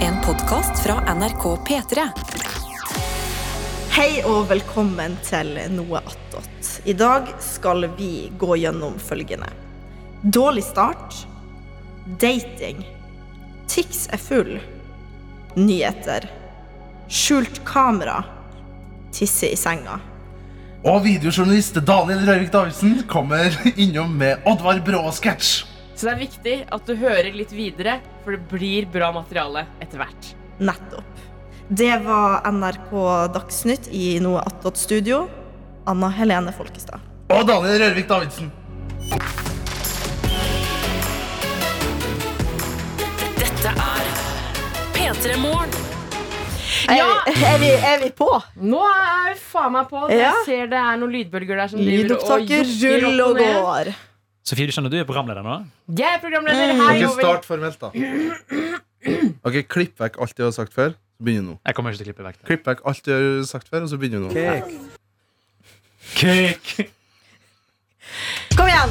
En podkast fra NRK P3. Hei og velkommen til Noe attåt. I dag skal vi gå gjennom følgende. Dårlig start. Dating. Tix er full. Nyheter. Skjult kamera. Tisse i senga. Og videojournalist Daniel Røvik Davidsen kommer innom med Oddvar Brå-sketsj. Så det er viktig at du hører litt videre, for det blir bra materiale etter hvert. Nettopp. Det var NRK Dagsnytt i Noe attåt studio. Anna Helene Folkestad. Og Daniel Rørvik Davidsen. Dette er P3 Morgen. Er, Ja! vi- er, vi, er vi på? Nå er jeg faen meg på. Ja. Jeg ser det er noen lydbølger der som driver og Lydopptaket jokker ruller og opp og ned. går. Sofie, du skjønner du er programleder nå? Jeg er Mm. programleder. Hei, Ok, og vel- Start formelt, da. Ok, Klipp vekk alt du har sagt før. Så begynner nå. Jeg kommer ikke til å klippe vekk det. Klipp vekk alt du har sagt før, og så begynner nå. Kuk. Kom igjen!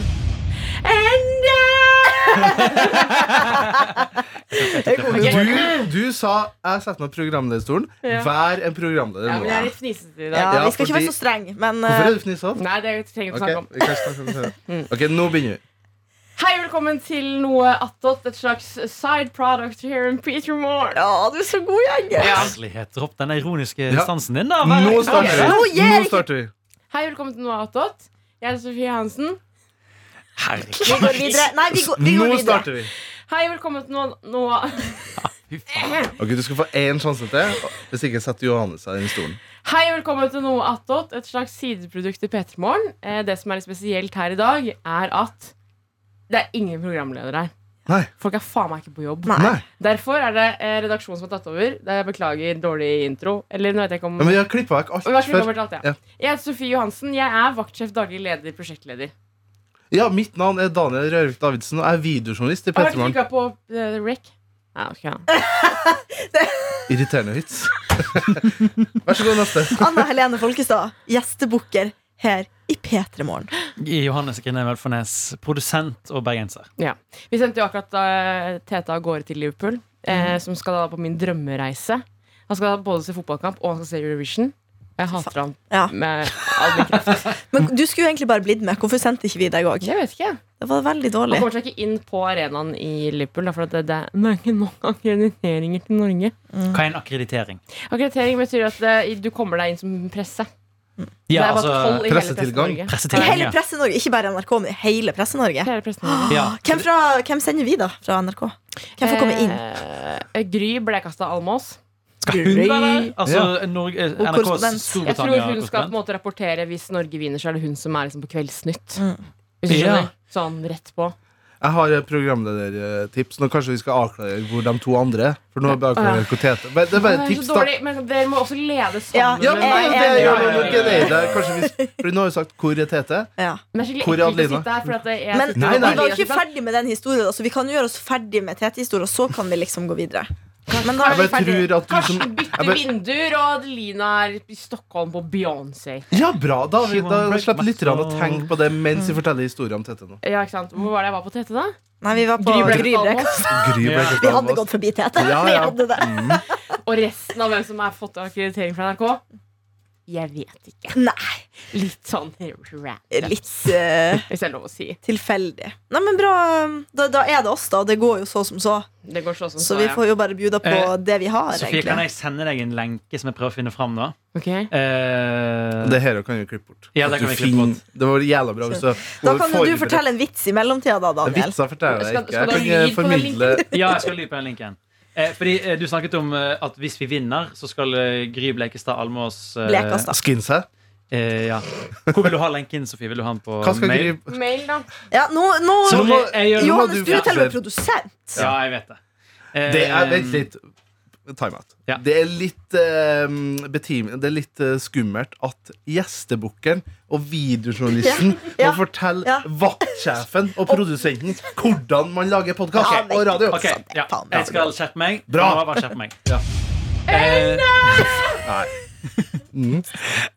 Du, Enda! du sa 'jeg setter meg på programlederstolen'. Ja. Vær en programleder Ja, nå. men jeg er litt fnisete i dag. Ja, Ja, vi skal ikke være fordi- så strenge, men Hvorfor er eh, du fnisete? Nei, det trenger vi ikke Ok, snakke om. vi kan snakke om det senere. ok, nå begynner vi. Hei, velkommen til noe attåt. Et slags side product here in Peter Moore. Ja, du er så god, Jenge. Ja. Herlighet, dropp den ironiske Ja. distansen din, da. vel. Nå starter vi. Nå gir Nå starter vi. Hei, velkommen til noe attåt. Jeg er Sofie Hansen. Herregud. Vi går videre. Nei, vi går, vi går Nå videre. starter vi. Hei, velkommen til noe, noe Fy faen. Ok, Du skal få én sjanse til. Hvis ikke setter Johanne seg i den stolen. Hei og velkommen til Noe attåt, et slags sideprodukt i P3 Morgen. Eh, Det som er litt spesielt her i dag, er at det er ingen programledere her. Nei. Folk er faen meg ikke på jobb. Nei. Nei. Derfor er det eh, redaksjonen som har tatt over. Det er, beklager dårlig intro. Eller nå vet jeg ikke om Ja, men jeg har klippa vekk alt Vær så snill, før. Robert, alt, ja. Ja. Jeg heter Sofie Johansen. Jeg er vaktsjef, daglig leder, prosjektleder. Ja, Mitt navn er Daniel Rørvik Davidsen og jeg er videojournalist i Har du Petermorgen. trykka på eh, rec? Nei, ok, ja. Irriterende vits. Vær så god, neste. Anna Helene Folkestad, gjestebukker her i P3 Morgen. Johannes Grine Velfornes, produsent og bergenser. Vi sendte jo akkurat eh, Tete av gårde til Liverpool, eh, som skal da på min drømmereise. Han skal da både se fotballkamp og han skal se Eurovision. Jeg hater han Ja. med all min kraft. Men du skulle jo egentlig bare blitt med. Hvorfor sendte ikke vi deg òg? Jeg vet ikke. Det var veldig Han dårlig. kommer seg ikke inn på arenaen i Liverpool, da, for at det, det, det er ikke nok akkrediteringer til Norge. Hva er en akkreditering? Akkreditering betyr at eh, du kommer deg inn som presse. det Ja, er bare tolv altså i hele pressetilgang. Presse-Norge. pressetilling. Hele ja. Presse-Norge, ikke bare NRK, men hele Presse-Norge. Hele Presse-Norge. Ja. Hvem, fra- hvem sender vi, da, fra NRK? Hvem får komme inn? Eh, Gry ble kasta Almås. Skal hun være der? Altså, Norge, Og korrespondent. NRKs Jeg tror hun skal på en Storbritannia-korrespondent. måte rapportere hvis Norge vinner, så er det hun som er liksom på Kveldsnytt. Mm. Hvis du Ja. skjønner. Sånn rett på. Jeg har et programledertips. Nå kanskje vi skal avklare hvor de to andre er. For nå er det bare avklare hvor Tete Men Det er bare et Å, jeg er tips, så da. dårlig, men dere må også lede Ja, sammen Ja, men men jeg- det jeg- er jo jeg- noe gøy der. Kanskje vi, for nå har vi sagt 'hvor er Tete'. Ja. Men det er Hvor er skikkelig ekkelt å Adelina? sitte her, for at jeg Men sitter Nei, vi nei. og- sånn, var jo ikke ferdig med den historien, da, så vi kan gjøre oss ferdig med Tete-historien, og så kan vi liksom gå videre. Men da Jeg er vi bare ferdig. tror at du som Karsten bytter jeg bare, vinduer, og Adelina er i Stockholm på Beyoncé. Ja, bra. Da, har vi, da slipper lytterne å tenke på det mens vi forteller historien om Tete nå. Ja, ikke sant? Hvor var det jeg var på Tete, da? Nei, vi var på Gry ble Gry kalt Brekk. Almås, Gry ble Ja. kalt Vi av hadde oss. gått forbi Tete. Ja, Vi ja. hadde det. Mm. og resten av hvem som er fått akkreditering fra NRK. Jeg vet ikke. Nei, Litt sånn random, litt eh, hvis det er lov å si. tilfeldig. Nei, men bra. um, Da, da er det oss, da. og Det går jo så som så. Det går så som Så vi ja. får jo bare bjuda på Eh, det vi har, Sofie, kan egentlig. jeg sende deg en lenke som jeg prøver å finne fram nå? Ok. Eh, Det her kan vi klippe bort. Ja, det At du kan vi klippe finner- bort. Det var jævla bra hvis du Da kan jo du fortelle en vits i mellomtida, da, Daniel. Vitser forteller jeg Skal- ikke. skal Jeg kan du ha eh, lyd på den formidle Ja, jeg skal lyde på den linken. Eh, fordi eh, Du snakket om eh, at hvis vi vinner, så skal eh, Gry Blekestad Almås eh, Blekastad. Skins her. Eh, ja. Hvor vil du ha lenken, Sofie? Vil du ha den på Hva skal Gry mail? eh, Mail, da. Ja, nå, nå Så Nå må- jeg gjør- Jo, Johannes, du du er til og med forteller. produsent. Ja, jeg vet det. Eh, Det er vent litt Timeout. Ja. Det er litt eh, betimelig Det er litt eh, skummelt at gjestebukkeren og videojournalisten Ja. må fortelle Ja. vaktsjefen og produsenten hvordan man lager podkast Ja, vet og radio. Ok, ja. Faen, bra. Jeg skal skjerpe meg. Bra. Jeg må bare skjerpe meg. Ja. Eh, Mm.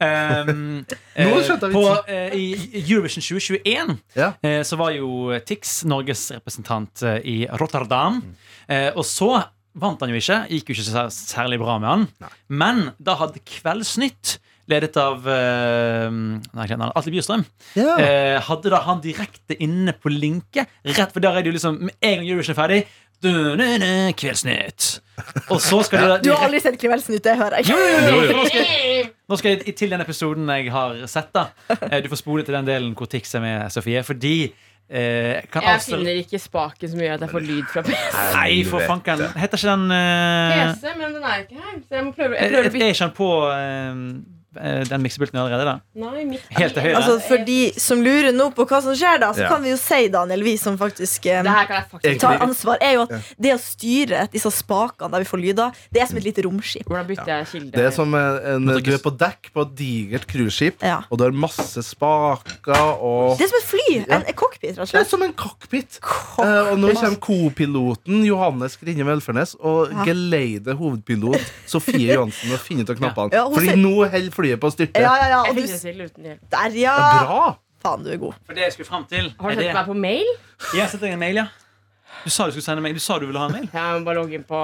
ehm, eh, Nå skjønte jeg på, vitsen. eh, I Eurovision 2021 Ja. eh, Mm. så var jo Tix Norges representant eh, i Rotterdam. Eh, og så vant han jo ikke. Gikk jo ikke så særlig bra med han. Nei. Men da hadde Kveldsnytt, ledet av eh, nei, hva heter han? Atle Bjurstrøm, Ja. eh, hadde da han direkte inne på linket. Rett for der er det jo liksom Med en gang Eurovision er ferdig du-du-du, Kveldsnytt. Og så skal de da Du har aldri sett Kveldsnytt, det hører jeg. Nå skal jeg- Nå skal jeg til den episoden jeg har sett. da Eh, Du får spole til den delen hvor Tix er med, Sofie. Fordi eh, kan Jeg avsløre- finner ikke spaken som gjør at jeg får lyd fra PC, Nei, for fanken. Heter ikke den eh, men den er jo ikke her. Så jeg må prøve, Er jeg prøver å er bytte. ikke han på eh, eh, den miksepulten allerede, da? Nei, mitt Helt til høyre. Altså, For de som lurer nå på hva som skjer, da, så Ja. kan vi jo si, Daniel, vi som faktisk eh, Det her kan jeg faktisk tar ansvar, er jo at det å styre disse spakene der vi får lyder, det er som et lite romskip. Hvordan bytter jeg kilde? Det er sånn- som en, en, Nå tar du er ikke- på dekk på et digert cruiseskip, Ja. og du har masse spaker og Det er som et fly. En, en cockpit, rett og Det er slett. som en cockpit. Cockpit. Eh, og nå kommer co-piloten Johannes Grinje Velfernes og Ja. geleide hovedpilot Sofie Johansen med å finne ut av knappene. Ja, hun Fordi sier- nå holder flyet på å styrte. Ja, ja, ja. Jeg Og du finner det til uten hjelp. Der, ja! Ja, Bra! Faen, du er god. For det jeg skulle fram til Har er du det- sendt meg på mail? Jeg har sendt deg en mail, ja. Du sa du skulle sende mail. Du sa du ville ha en mail. Jeg må bare logge inn på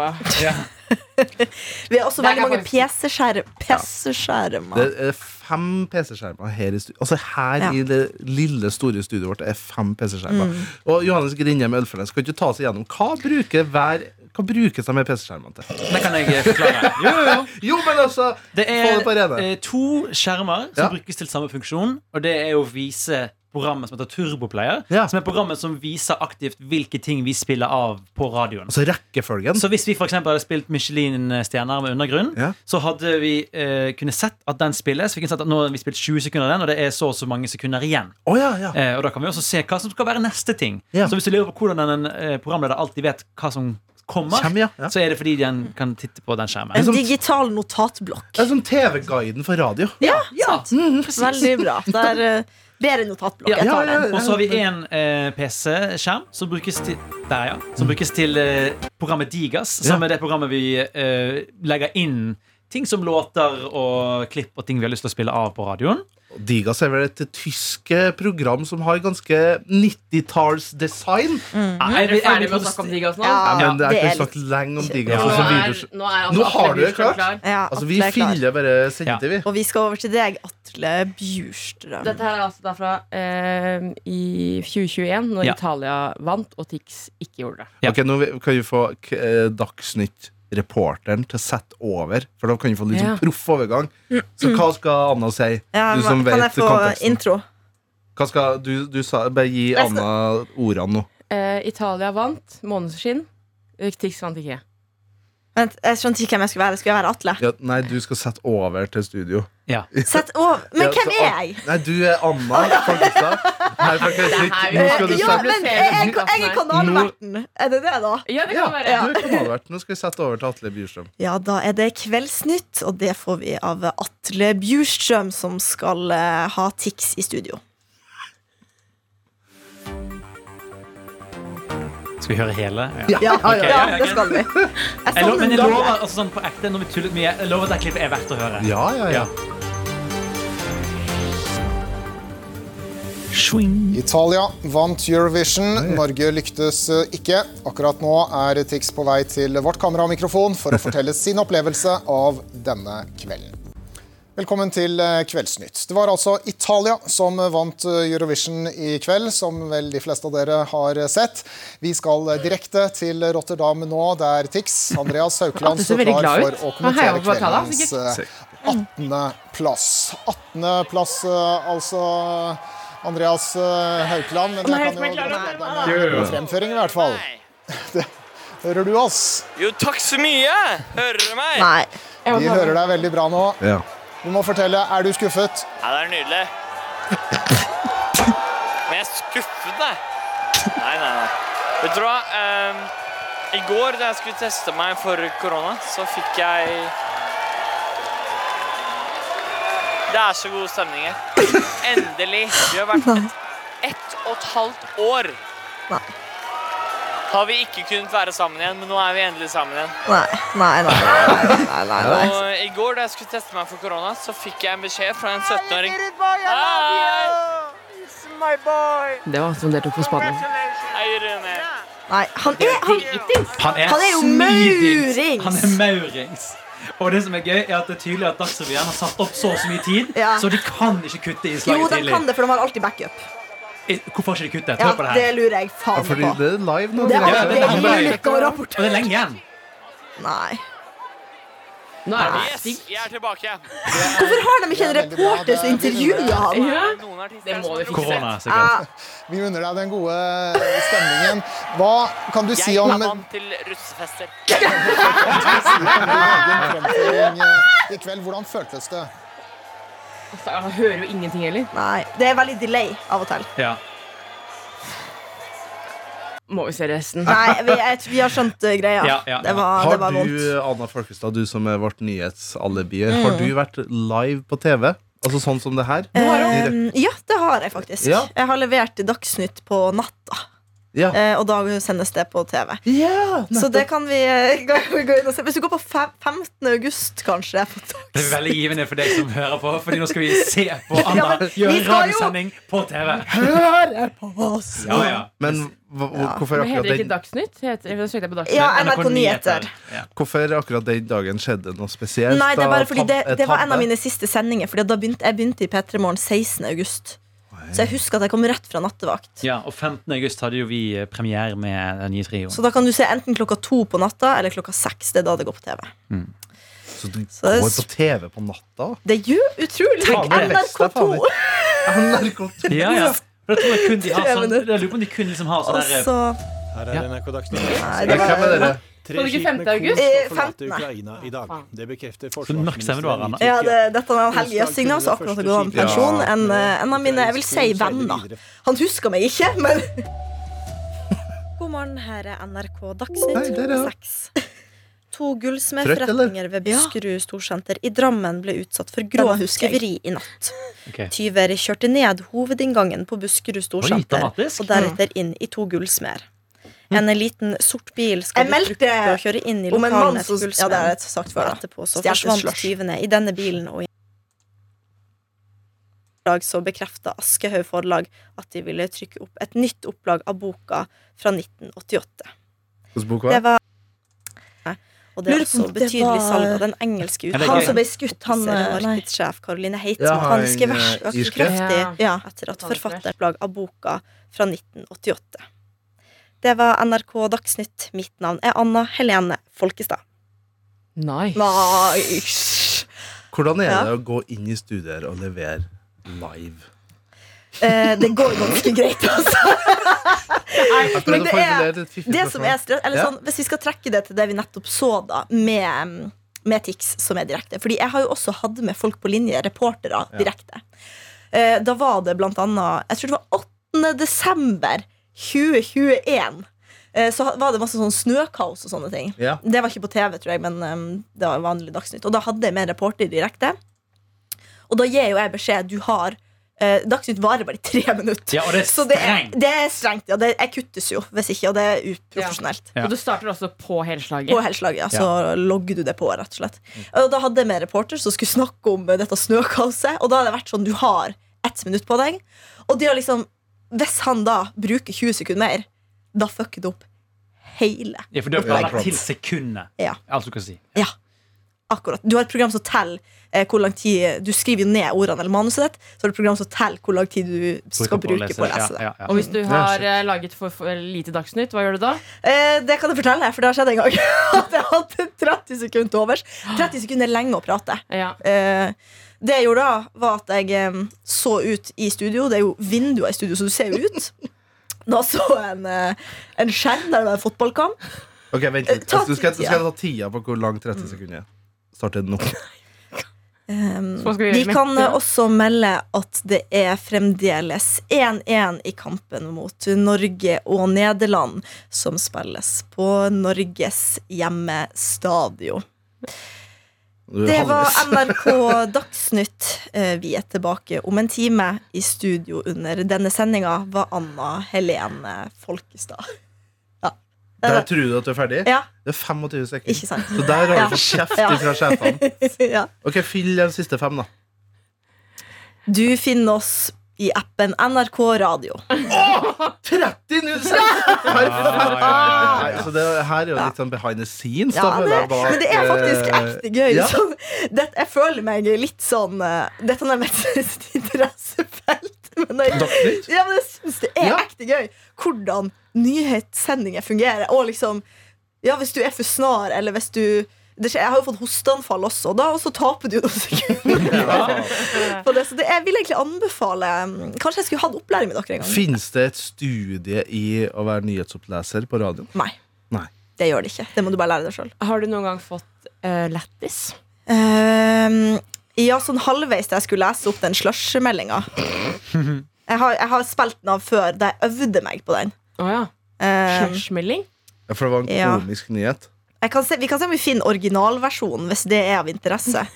Vi har også Der veldig kan mange jeg PC-skjerm. PC-skjermer. Det er fem PC-skjermer her i stu- Altså her Ja. Mm. i det lille, store studioet vårt er fem PC-skjermer. Og Johannes Grindheim Ølfernes kan ikke ta seg gjennom hva bruker hver hva brukes de her PC-skjermene til? Det kan jeg eh, forklare. Jo, jo, jo. Jo, men altså Det Få det på er rene. eh, to skjermer som Ja. brukes til samme funksjon, og det er å vise programmet som heter Turboplayer. Ja. Som er programmet som viser aktivt hvilke ting vi spiller av på radioen. Altså rekkefølgen. Så hvis vi for eksempel hadde spilt Michelin-stjerner med undergrunn, Ja. så hadde vi eh, kunne sett at den spilles. Vi kunne sett at nå har vi spilt 20 sekunder av den, og det er så og så mange sekunder igjen. Å ja, ja. Eh, og da kan vi også se hva som skal være neste ting. Ja. Så hvis du lurer på hvordan en eh, programleder alltid vet hva som kommer, Kjem, ja. ja. så er det fordi den kan titte på den skjermen. En som- digital notatblokk. Det er som TV-guiden for radio. Ja, sant. Mhm, Veldig bra. Det er eh, bedre notatblokk. Jeg tar den. Og så har vi én eh, PC-skjerm som brukes til Der, ja. Som brukes til eh, programmet Digas, som Ja. er det programmet vi eh, legger inn ting som låter og klipp og ting vi har lyst til å spille av på radioen. Digas er vel et tysk eh, program som har ganske 90-talls-design. Nei, Er du Ah, jeg- jeg ferdig blir med å protest- snakke om Digas nå? Ja, Ja, men det er det ikke er snakket lenge om Nå Digas. og så videre er, så- nå er altså Nå har du det klart. Ja, Altså, Atle vi er klar. fyller bare sendte, vi. Og vi skal over til deg, Atle Bjurstrøm. Dette her er altså derfra eh, i 2021, når Ja. Italia vant og Tix ikke gjorde det. Ja. Ok, Nå vi- kan vi få k- eh, Dagsnytt-reporteren til å sette over, for da kan vi få litt sånn Ja. proff overgang. Så hva skal Anna si? Ja, Du som kan vet jeg få konteksten. intro? Hva skal, du, du sa, bare gi Jeg skal- Anna ordene nå. Eh, Italia vant, måneskinn. Tix vant ikke. Vent, jeg skjønte ikke hvem jeg skulle være. Skulle jeg være Atle? Ja, nei, du skal sette over til studio. Ja. Sett over. Men Ja, hvem så- er jeg? Nei, du er Anna Folkestad. Her fra Kveldsnytt. Nå skal du Eh, Ja, sette- men jeg, jeg, jeg er kanalverten. Er det det, da? Ja, det kan sette være. Ja, du er kanalvert. Nå skal vi sette over til Atle Bjurstrøm. Ja, da er det Kveldsnytt, og det får vi av Atle Bjurstrøm, som skal eh, ha Tix i studio. Skal vi høre hele? Ja. Ja, ok, ja, ja, det ja. skal vi. Jeg Jeg lover, men savner jeg lover Daniel. altså sånn på ekte, når vi tullet mye, jeg lover at det klippet er verdt å høre. Ja, ja, ja. Swing. Italia vant Eurovision. Norge lyktes eh, ikke. Akkurat nå er Tix på vei til vårt kamera og mikrofon for å fortelle sin opplevelse av denne kvelden. Velkommen til eh, Kveldsnytt. Det var altså Italia som vant eh, Eurovision i kveld, som vel de fleste av dere har eh, sett. Vi skal eh, direkte til Rotterdam nå, der Tix, Andreas Haukeland, Atle Ah, ser står veldig klar glad ut. for å Han heier kommentere på Bacala, kveldens eh, 18. plass. 18. plass, eh, altså Andreas eh, Haukeland. Men jeg kan jo det er en fremføring, i hvert fall. Det hører du oss. Jo, takk så mye! Hører du meg? Nei. Vi hører deg veldig bra nå. Ja. Du må fortelle, er du skuffet? Ja, det er nydelig. Men jeg er skuffet, nei. Nei, nei, nei. Vet du hva? Ehm, I går da jeg skulle teste meg for korona, så fikk jeg Det er så god stemning her. Endelig. Vi har vært et, ett og et halvt år. Nei. Har vi ikke kunnet være sammen igjen, men nå er vi endelig sammen igjen. Nei, nei, nei. nei, nei, nei, nei. Og i går da jeg skulle teste meg for korona, så fikk jeg en beskjed fra en 17-åring. Hei! Det var som dere tok på spaden. Hei, Rune. Nei, han er, han, Han er, Han er jo smidings. maurings. Han er maurings. Og det som er gøy, er at det er tydelig at Dagsrevyen har satt opp så og så mye tid, Ja. så de kan ikke kutte i jo, slaget de tidlig. kan det, for de har alltid backup. I- Hvorfor har ikke de kuttet? Ja, Hør på det Det her. lurer jeg faen Fordi på. det er live nå. Det er Ja, alltid det er en bare- ulykke å rapportere. Og det er lenge igjen. Nei. Nå er det Yes, jeg er tilbake. Hvorfor har de ikke en reporter som intervjuer han? Ja. Noen artister Det er må som vi har fikse. rotet. Korona, sikkert. Vi unner deg den gode eh, stemningen. Hva kan du si Jeg om er din vant til russefester. egen fremføring eh, i kveld? Hvordan føltes det? Altså, jeg hører jo ingenting heller. Nei, Det er veldig delay av og til. Ja. Må vi se resten. Nei, vi, jeg, vi har skjønt eh, greia. Ja, ja, ja. Det var, det Har var du, vondt. Anna Folkestad, du som er vårt nyhetsalibi, Mm. har du vært live på TV? Altså sånn som det her? Eh, ja, det har jeg faktisk. Ja. Jeg har levert i Dagsnytt på natta, Ja. eh, og da sendes det på TV. Ja, Så det kan vi eh, gå gå inn og se. Hvis du går på fem- 15. august, kanskje på Det er veldig givende for deg som hører på, Fordi nå skal vi se på Anna Ja, men vi gjøre skal jo- radiosending på TV. Ja, ja. Men hva, hva- hvorfor Men heter det akkurat ikke den, Dagsnytt? Heter, jeg søkte på Dagsnytt. Ja, NRK Nyheter. Ja. hvorfor akkurat den dagen skjedde noe spesielt? Nei, det er da? bare fordi det, Tab- det var en av tabbe? mine siste sendinger. Fordi da begynte, Jeg begynte i P3 Morgen 16. august. Så jeg husker at jeg kom rett fra nattevakt. Ja, og 15. august hadde jo vi eh, premiere med den nye trioen. Så da kan du se enten klokka to på natta eller klokka seks. Det er da det går på TV. Så du Så det er går s- på TV på natta? Det gjør utrolig Tenk det. NRK2! NRK2. Ja, ja. For da tror jeg kun de har sånn Krevende. Altså, Jeg lurer på om de kun liksom har sånn Og der så Her Ja. er NRK Dagsnytt. Nei, det Hvem var er dere? Tre Var det ikke skip 5. med august? kurs Eh, skal forlate 15.. Ukraina i dag. Det bekrefter mørk stemme du har, Anna. forsvarsministeren i ja, det, Tyrkia. dette var Helge Jøssigna som akkurat har gått av med pensjon. En, eh, en av mine jeg vil si venner. Han husker meg ikke, men God morgen, her er NRK Hei, Dagsnytt der, ja. 6. To Trøtt, eller? gullsmedforretninger ved Buskerud Storsenter i Drammen ble utsatt for Denne grov husker jeg. tyveri i natt. Ok. Tyver kjørte ned hovedinngangen på Buskerud Storsenter dramatisk. og deretter inn i to gullsmeder. En liten sort bil Jeg skal bli meldte brukt til å kjøre inn i om en mann lokalene som- til Ja, det har jeg gullsmeden. sagt Og før. da. etterpå så Stjert et forsvant slush. tyvene i denne bilen og i I dag så bekrefta Aschehoug forlag at de ville trykke opp et nytt opplag av boka fra 1988. Hvilken bok Det var det? var Og det er Lurer på om også det betydelig var- salg av den engelske det er utgaven. Han gøy. som ble skutt, han Offiser og eh, Nei. markedssjef Caroline Ja, Heitzman. han, Han skrev eh, vers økte irske. kraftig Ja. Ja. etter at forfatteren lag av boka fra 1988. Det var NRK Dagsnytt. Mitt navn er Anna Helene Folkestad. Nice. Nice. Hvordan er Ja. det å gå inn i studier og levere live? Eh, det går ganske greit, altså. Jeg prøvde men det å formulere er- et fiffig Det som spørsmål. er stress, eller Ja. sånn, Hvis vi skal trekke det til det vi nettopp så, da, med, med TIX som er direkte Fordi jeg har jo også hatt med folk på linje, reportere, direkte. Eh, Da var det blant annet Jeg tror det var 8. desember 2021. eh, Så var det masse sånn snøkaos og sånne ting. Ja. Det var ikke på TV, tror jeg, men um, det var vanlig Dagsnytt. Og da hadde jeg med en reporter direkte. Og da gir jo jeg beskjed du har eh, Dagsnytt varer bare i tre minutter. Ja, og det er Så det er, strengt. det er strengt. Ja, det, jeg kuttes jo hvis ikke, og det er uprofesjonelt. Ja. Og du starter også på helslaget. På helslaget, ja, så logger du det på, rett og slett. Og da hadde jeg med en reporter som skulle snakke om eh, dette snøkaoset, og da hadde det vært sånn du har ett minutt på deg, og de har liksom Hvis han da bruker 20 sekunder mer, da fucker det opp hele. Ja, for du har planlagt til sekundet. Ja. Alt du kan si. Ja, akkurat. Du har et program som teller eh, hvor lang tid Du skriver jo ned ordene eller manuset ditt, så har du et program som teller hvor lang tid du skal bruke på å lese det. Ja, ja, Og ja. hvis du har eh, laget for, for lite Dagsnytt, hva gjør du da? Eh, det kan jeg fortelle, for det har skjedd en gang. At jeg hadde 30 sekunder til overs. 30 sekunder er lenge å prate. Ja. Eh, det jeg gjorde da, var at jeg eh, så ut i studio. Det er jo vinduer i studio, så du ser jo ut. Da så jeg en, eh, en skjerm der det var en fotballkamp. Ok, vent Eh, litt. Ta Mm. Altså, du skal, du tida. skal ta tida på hvor lang 30 sekunder er. Starter nå. Så hva skal vi Vi gjøre med kan det? eh, også melde at det er fremdeles 1-1 i kampen mot Norge og Nederland, som spilles på Norges hjemmestadion. Du er Det var halvveis. NRK Dagsnytt. Eh, Vi er tilbake om en time. I studio under denne sendinga var Anna Helene Folkestad. Ja. Det Der var- tror du at du er ferdig? Ja, Det er 25 sekunder. ikke sant? Så der har Ja. du fått kjeft Ja. fra sjefene. Ja. Ok, Fyll de siste fem, da. Du finner oss i appen NRK Radio. 30 null Nei, Så det her er jo litt sånn behind the scenes. da, Ja, føler det, jeg, bak, men det er faktisk eh, ekte gøy. ja. Sånn, det, jeg føler meg litt sånn eh, Dette er mitt siste interessefelt. Men jeg, Dagsnytt? ja, men jeg syns det er Ja. ekte gøy hvordan nyhetssendinger fungerer. Og liksom Ja, hvis du er for snar, eller hvis du det skjer, Jeg har jo fått hosteanfall også, og da og så taper du noen sekunder. på det, så det, jeg vil egentlig anbefale mm, Kanskje jeg skulle hatt opplæring med dere en gang. Fins det et studie i å være nyhetsoppleser på radioen? Nei. Nei. Det gjør det ikke. Det må du bare lære deg sjøl. Har du noen gang fått eh, lættis? Ehm, ja, sånn halvveis da jeg skulle lese opp den slush-meldinga. Jeg, har- jeg har spilt den av før, da jeg øvde meg på den. Å ja. Ehm, Slushmelding? Ja, For det var en Ja. komisk nyhet. jeg kan se, vi kan se om vi finner originalversjonen, hvis det er av interesse.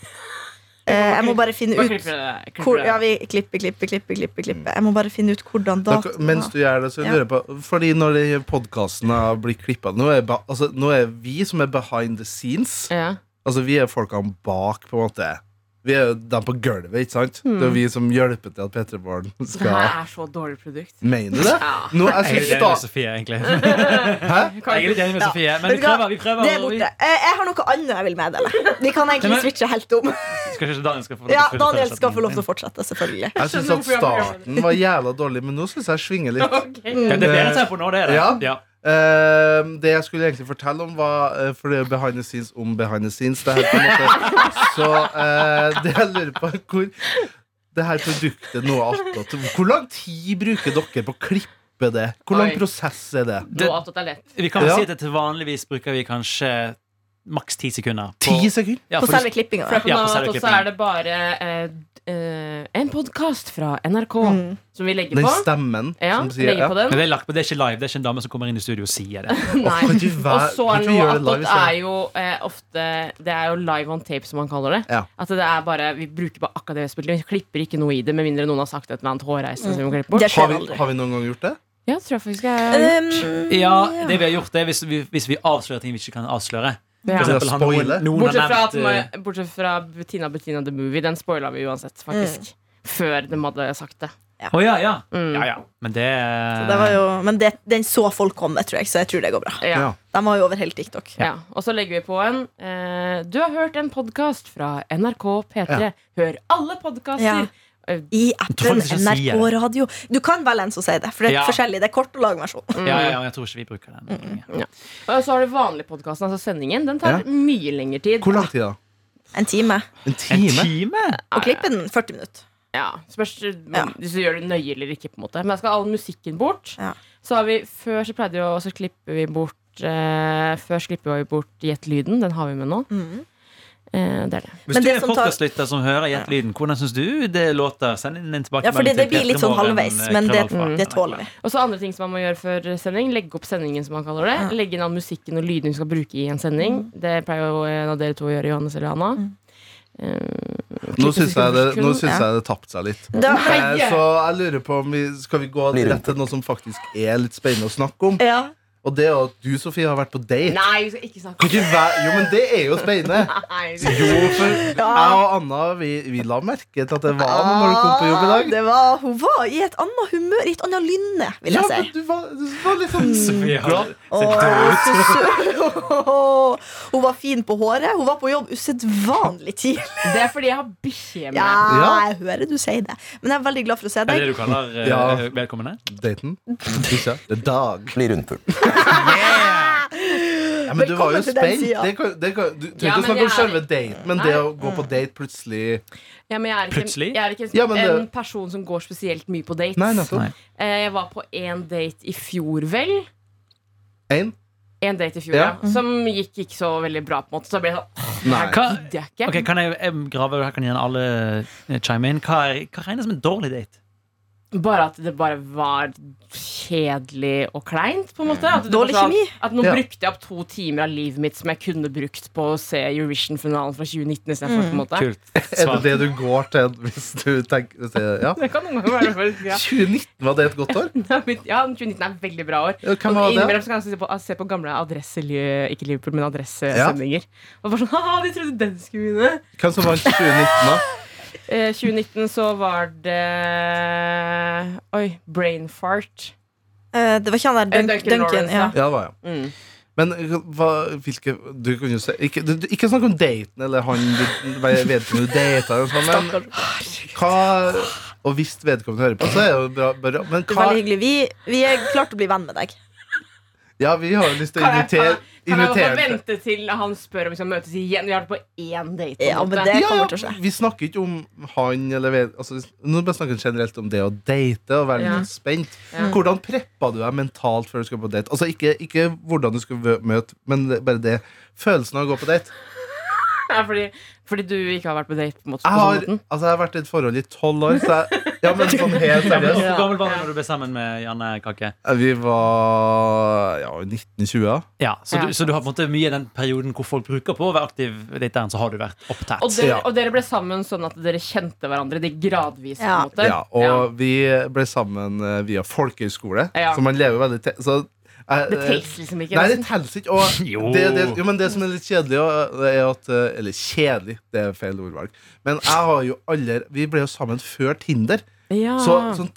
Eh, jeg må bare finne Bare ut klipp det, klipp hvor, det. ja, vi klipper, klipper, klipper, klipper, klipper. Jeg må bare finne ut hvordan Dere, datoen mens var. du gjør det, så Ja. lurer jeg på Fordi når podkasten blir klippa nå, er ba- altså, nå er vi som er behind the scenes. Ja. Altså, vi er folkene bak, på en måte. Vi er jo dem på gulvet, ikke sant? Det er vi som hjelper til at Petter Born Det her skal er så dårlig produkt. Mener du det? Nå, jeg synes Jeg er litt enig med sta- Sofie, egentlig. Jeg er litt enig med Sofie, men vi Vet du hva? prøver. vi prøver Det er borte. Eh, jeg har noe annet jeg vil meddele. Vi kan Nei, men- egentlig switche helt om. Vi skal ikke Daniel skal få lov til Ja, å fullføre Daniel skal få lov til setningen. å fortsette, selvfølgelig. jeg syns at skjønner hvorfor jeg er programleder. starten var jævla dårlig, men nå syns jeg svinger litt. Ja, Det er bedre Eh, tempo nå, det er det. Ja. Ja. Eh, det jeg skulle egentlig fortelle om, var eh, For det er jo behind the scenes om behind the scenes. Det her, på en måte. Så eh, det jeg lurer på, er hvor det her produktet nå er attåt Hvor lang tid bruker dere på å klippe det? Hvor lang Oi. prosess er det? Nå at det er lett. Vi kan vel Ja. si at til vanligvis bruker vi kanskje maks ti sekunder. Ti sekunder? ja, På for du- selve klippinga. For det er på Ja, noe på annet, og så serieklippingen. er det bare eh, eh, en podkast fra NRK Mm. som vi legger Den på. stemmen Ja, som sier legger på den. Men det er, lagt på, det er ikke live, det er ikke en dame som kommer inn i studio og sier det. Nei. Kan du være- Og så kan er du noe gjøre det live attåt i stedet? er jo eh, ofte Det er jo live on tape, som man kaller det. Ja. At det er bare, Vi bruker bare akkurat det vi har spilt inn. Vi klipper ikke noe i det, med mindre noen har sagt et eller annet hårreise. Som vi må klippe bort. Det Har skjer vi, aldri. har vi noen gang gjort det? Ja, tror jeg faktisk jeg Um, Ja, det vi har gjort det er hvis vi, hvis vi avslører ting vi ikke kan avsløre. Ja. For eksempel, han, noen, Spoiler. noen Bortsett har fra, at, nevnt eh, man- bortsett fra Bettina Bettina The Movie. Den spoila vi uansett, Mm. faktisk. Før de hadde sagt det. eh, Å ja, ja. Mm. ja, ja. Men det, Det var jo, men det, den så folk komme, tror jeg, så jeg tror det går bra. Ja. Ja. De var jo over hele TikTok. Ja. Og så legger vi på en eh, Du har hørt en podkast fra NRK P3. Hør alle podkaster! Ja. I appen faktisk ikke sier NRK Radio. Du kan velge en som sier det, for det er Ja. forskjellig. Det er kort og lang versjon. ja, ja, Jeg tror ikke vi bruker den. Mm. Og så har du vanlig podkasten, altså sendingen. Den tar Ja. mye lengre tid. Hvor lang tid, da? En time. En En time? time? Og klippen 40 minutter. Ja, spørs men hvis du gjør det nøye eller ikke. på en måte Men da skal all musikken bort. Ja. Så har vi, Før så pleide vi å så klipper vi bort eh, Før slipper vi bort Gjett lyden. Den har vi med nå. Eh, det er det. Hvis Men du det er som tar- podcastlytter som hører Gjett lyden, hvordan syns du det låter? Send inn en tilbakemelding. Ja, fordi det til blir litt sånn Petremorgen, halvveis, eh, men det, krøllalfa. det tåler vi. Og så andre ting som man må gjøre før sending. Legge opp sendingen, som man kaller det. Legge inn all musikken og lyden vi skal bruke i en sending. Det pleier jo en av dere to å gjøre, Johannes eller Anna. Nå syns jeg det, nå Klippes- syns jeg det tapte seg litt. Da, Eh, Så jeg lurer på om vi skal vi gå rett til noe som faktisk er litt spennende å snakke om. ja. Og det er jo at du, Sofie, har vært på date. Nei, vi skal ikke snakke Kan om ikke væ- jo, men det er jo spennende. det. Jo, for jeg og Anna vi, vi la merke til at det var noe når du kom på jobb i dag. Ah, Det var, hun var i et annet humør, i et annet lynne, vil Ja, jeg si. men du var, du var litt sånn Sofie har- glad. Åh, så søt. Hun var fin på håret. Hun var på jobb usedvanlig tidlig. Det er fordi jeg har bikkje med. Ja, Ja. jeg hører du sier det. Men jeg er veldig glad for å se Er det deg. det du kaller eh, Ja. velkommende? Daten? Bikkja? Det er dag. Blir rundpult. Ja, men du var jo Velkommen til den spent. siden. Det kan, det kan, du trenger Ja, ikke å men snakke om jeg er- selve daten, men det å gå på date plutselig Ja, men jeg er ikke, Plutselig? Jeg er ikke en, Ja, men det- en person som går spesielt mye på dates. Nei, nettopp. Nei. Eh, Jeg var på én date i fjor, vel. Én? En date i fjor, ja. Ja. Mm. Som gikk ikke så veldig bra. på en måte Så da ble jeg sånn Nei. Hva, Det er ikke ok, kan jeg, jeg grave, her kan gjerne alle eh, chime inn. Hva, er, hva regnes som en dårlig date? Bare at det bare var kjedelig og kleint, på en måte. At det Dårlig var sånn- kjemi. At nå Ja. brukte jeg opp to timer av livet mitt som jeg kunne brukt på å se Eurovision-finalen fra 2019 istedenfor. på en måte. Kult. Er det Svar. det du går til hvis du tenker hvis det- Ja. Det kan noen ganger være faktisk, ja. 2019, var det et godt år? ja, 2019 er et veldig bra år. Ja, hvem Og var det? Innimellom så kan jeg se på, ah, se på gamle adresse, ikke Liverpool, men adressesendinger. Og bare sånn, haha, de trodde den skulle vinne! Hvem som vant 2019, da? Eh, 2019 så var det Oi, Brainfart. Eh, det var ikke han der Dun Duncan Duncan. Lawrence, ja. Ja, det var jeg. Mm. Men hva, hvilke du kan jo se, ikke, du, du- ikke snakk om daten eller han du vet ikke om du data. eller sånn, Men hva Og hvis vedkommende hører på, så er det jo bra. bra men Det var veldig hva hyggelig. Vi, vi er klart å bli venn med deg. Ja, vi har jo lyst til å Kan jeg- invitere Kan jeg bare invitere vente til han spør om vi skal møtes igjen? Vi har vært på én date. på en Ja, måte. men det ja, kommer til å ja, skje. vi snakker ikke om han eller ved, altså, Nå bare snakker vi generelt om det å date og være Ja. litt spent. Ja. Hvordan preppa du deg mentalt før du skal på date? Altså Ikke, ikke hvordan du skal vø- møte, men det- bare det. Følelsen av å gå på date. Ja, fordi, fordi du ikke har vært på date på, en måte, Jeg på sånn har, måten? altså, jeg har vært i et forhold i tolv år, så jeg, ja, men sånn helt seriøst. Hvor gammel var du når du ble sammen med Janne Kake? Vi var ja, 1920. Ja, så, Ja. Du, så du har på en måte mye i den perioden hvor folk bruker på å være aktiv dateren, så har du vært Og opptatt. dere, Ja. og dere ble sammen sånn at dere kjente hverandre det gradvis? på Ja. en måte Ja, og Ja. vi ble sammen eh, via folkehøyskole, Ja. så man lever veldig te så, eh, jeg- Det telles liksom ikke. Nei, det nesten. telles ikke. Og Jo. det, det, jo, men det som er litt kjedelig, og- er at eh, Eller kjedelig, det er feil ordvalg. Men jeg har jo aldri Vi ble jo sammen før Tinder. ja. Så sånn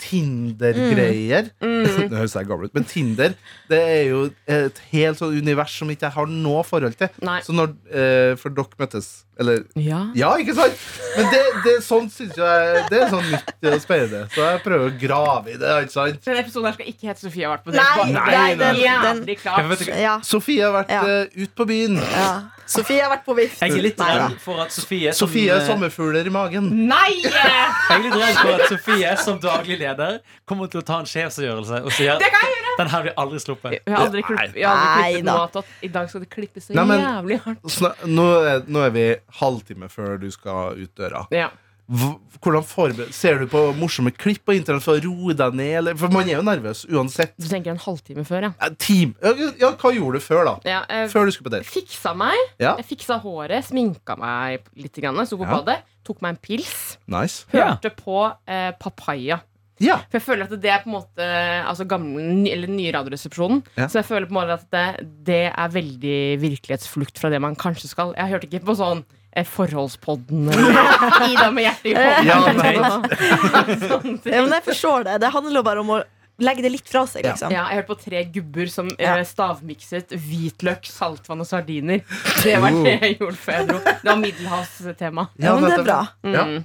Tinder-greier Det høres jeg gammel ut, men Tinder Det er jo et helt sånn univers som ikke jeg har noe forhold til. Nei. Så når eh, For dere møttes Eller ja. Ja, ikke sant? Men det, det sånn synes jeg Det er sånn nytt og spennende. Så jeg prøver å grave i det. ikke sant? Denne episoden her skal ikke hete Sofie har vært på Nei, date. nei, nei, det er den- jævlig Jeg, klart. vet, ikke- Ja, Sofie har vært Ja. eh, ut på byen. ja. Sofie har vært på vift. jeg er litt Nei, redd for at Sofie sånn, som- Sofie sånn har sommerfugler i magen. Nei! Jeg er litt redd for at Sofie som daglig leder kommer til å ta en sjefsavgjørelse og sier Det kan jeg den her blir aldri sluppet. Jeg har aldri klippet, jeg har aldri klippet Nei da. noe av tatt. I dag skal det klippes så Nei, men- jævlig hardt. Sna- Nå er, nå er vi halvtime før du skal ut døra. Ja. Hv- Hvordan forber- Ser du på morsomme klipp på internett for å roe deg ned? Eller? For man er jo nervøs uansett. Du tenker en halvtime før, ja. Eh, Team. Ja, ja, hva gjorde du før, da? ja eh, Før du skulle på date? fiksa meg. Ja. Jeg fiksa håret, sminka meg litt, grann, sto på Ja. badet, tok meg en pils. Nice. Ja. Hørte på eh, Papaya. Ja. For jeg føler at det er på en måte Altså gamle, ny- eller nye radioresepsjonen. Ja. Så jeg føler på en måte at det, det er veldig virkelighetsflukt fra det man kanskje skal. Jeg hørte ikke på sånn eh, Forholdspodden eller Ida med hjertet i hånden. Ja, eller nei. noe sånt. Sånn Ja, men jeg forstår det. Det handler bare om å legge det litt fra seg, Ja. liksom. Ja, jeg hørte på tre gubber som Ja. eh, stavmikset hvitløk, saltvann og sardiner. Det var Oh. det jeg gjorde før jeg dro. Det var middelhavstema. Mm. Ja, men det er bra. nettopp. Ja.